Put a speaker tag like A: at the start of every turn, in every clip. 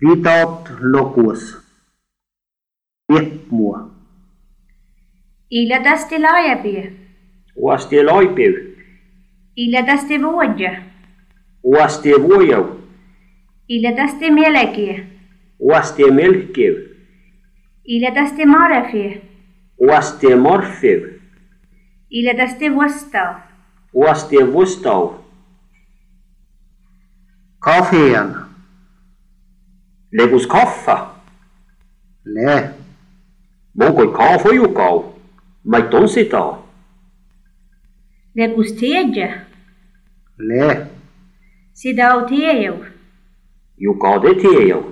A: Without locus. Ehmua.
B: إلى دست العيبة
C: Uasti loipiv,
B: إلى دست بوجه
C: uasti vuojav,
B: إلى دست ملكي
C: uasti melkiv,
B: إلى دست معرفة
C: uasti morfiv,
B: إلى دست وسطى
C: uasti vustav,
A: Kafean.
C: legus kahva,
A: Le.
C: mogoi kahvojukav, ma ei tonsi ta,
B: لجوستيجة
A: Le.
B: سيداوتيو
C: jukade teejav,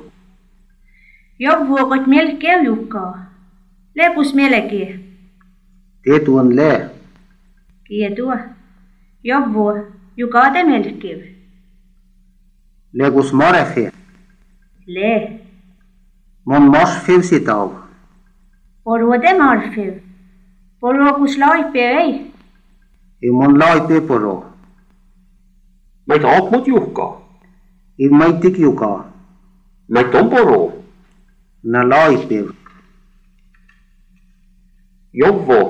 B: يبوغت ملكي ويوكا لجوس ملكي
A: Tetun le.
B: يدوه يبو يقاد ملكي
A: Legus marefe.
B: ليه
A: Mon morsfiv sitav.
B: Borode marfiv. Borogus laipei.
A: I mon laipe poro.
C: ma ei tahtnud juhka,
A: I maitik juga.
C: ma ei tomboru,
A: Na laipiv.
C: jovvo,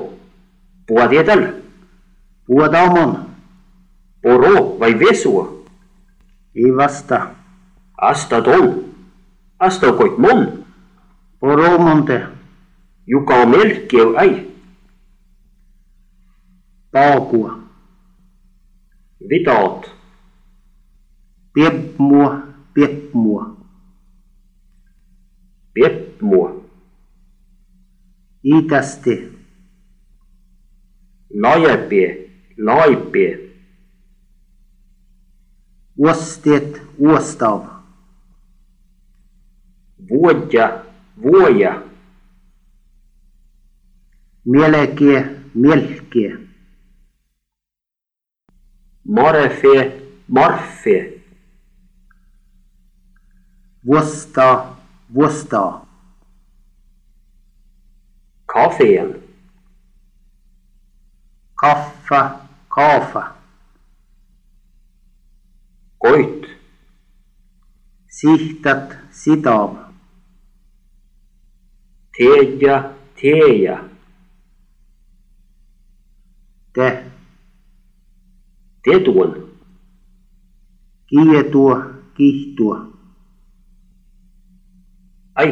C: puadedel,
A: Puodamon.
C: poro vai vesu,
A: I vasta.
C: asta ton, asta koit mon,
A: Poro monte.
C: juka melkiv ei,
A: Paakua.
C: vidaat,
A: Piep mua. Piep mua.
C: peppmu,
A: Itästi.
C: laiepi, laipi,
A: Uostet. Uostav.
C: vuoja, vuoja,
A: Mieleke. Mielke.
C: Marefe, Marfe,
A: Vuosta. Vuosta.
C: Kafeen,
A: Kaffa. Kaafa.
C: Koit,
A: Sihtat. Sitav.
C: Teija, Teija,
A: Te.
C: Tetun,
A: Kietua. Kihtua.
C: Ai,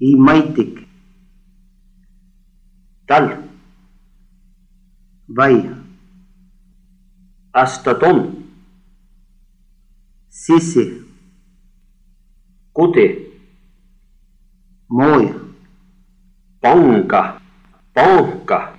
A: I maitik.
C: Tal,
A: Vai.
C: Astaton,
A: Sisi.
C: Kute,
A: Moi.
C: Panka, Panka,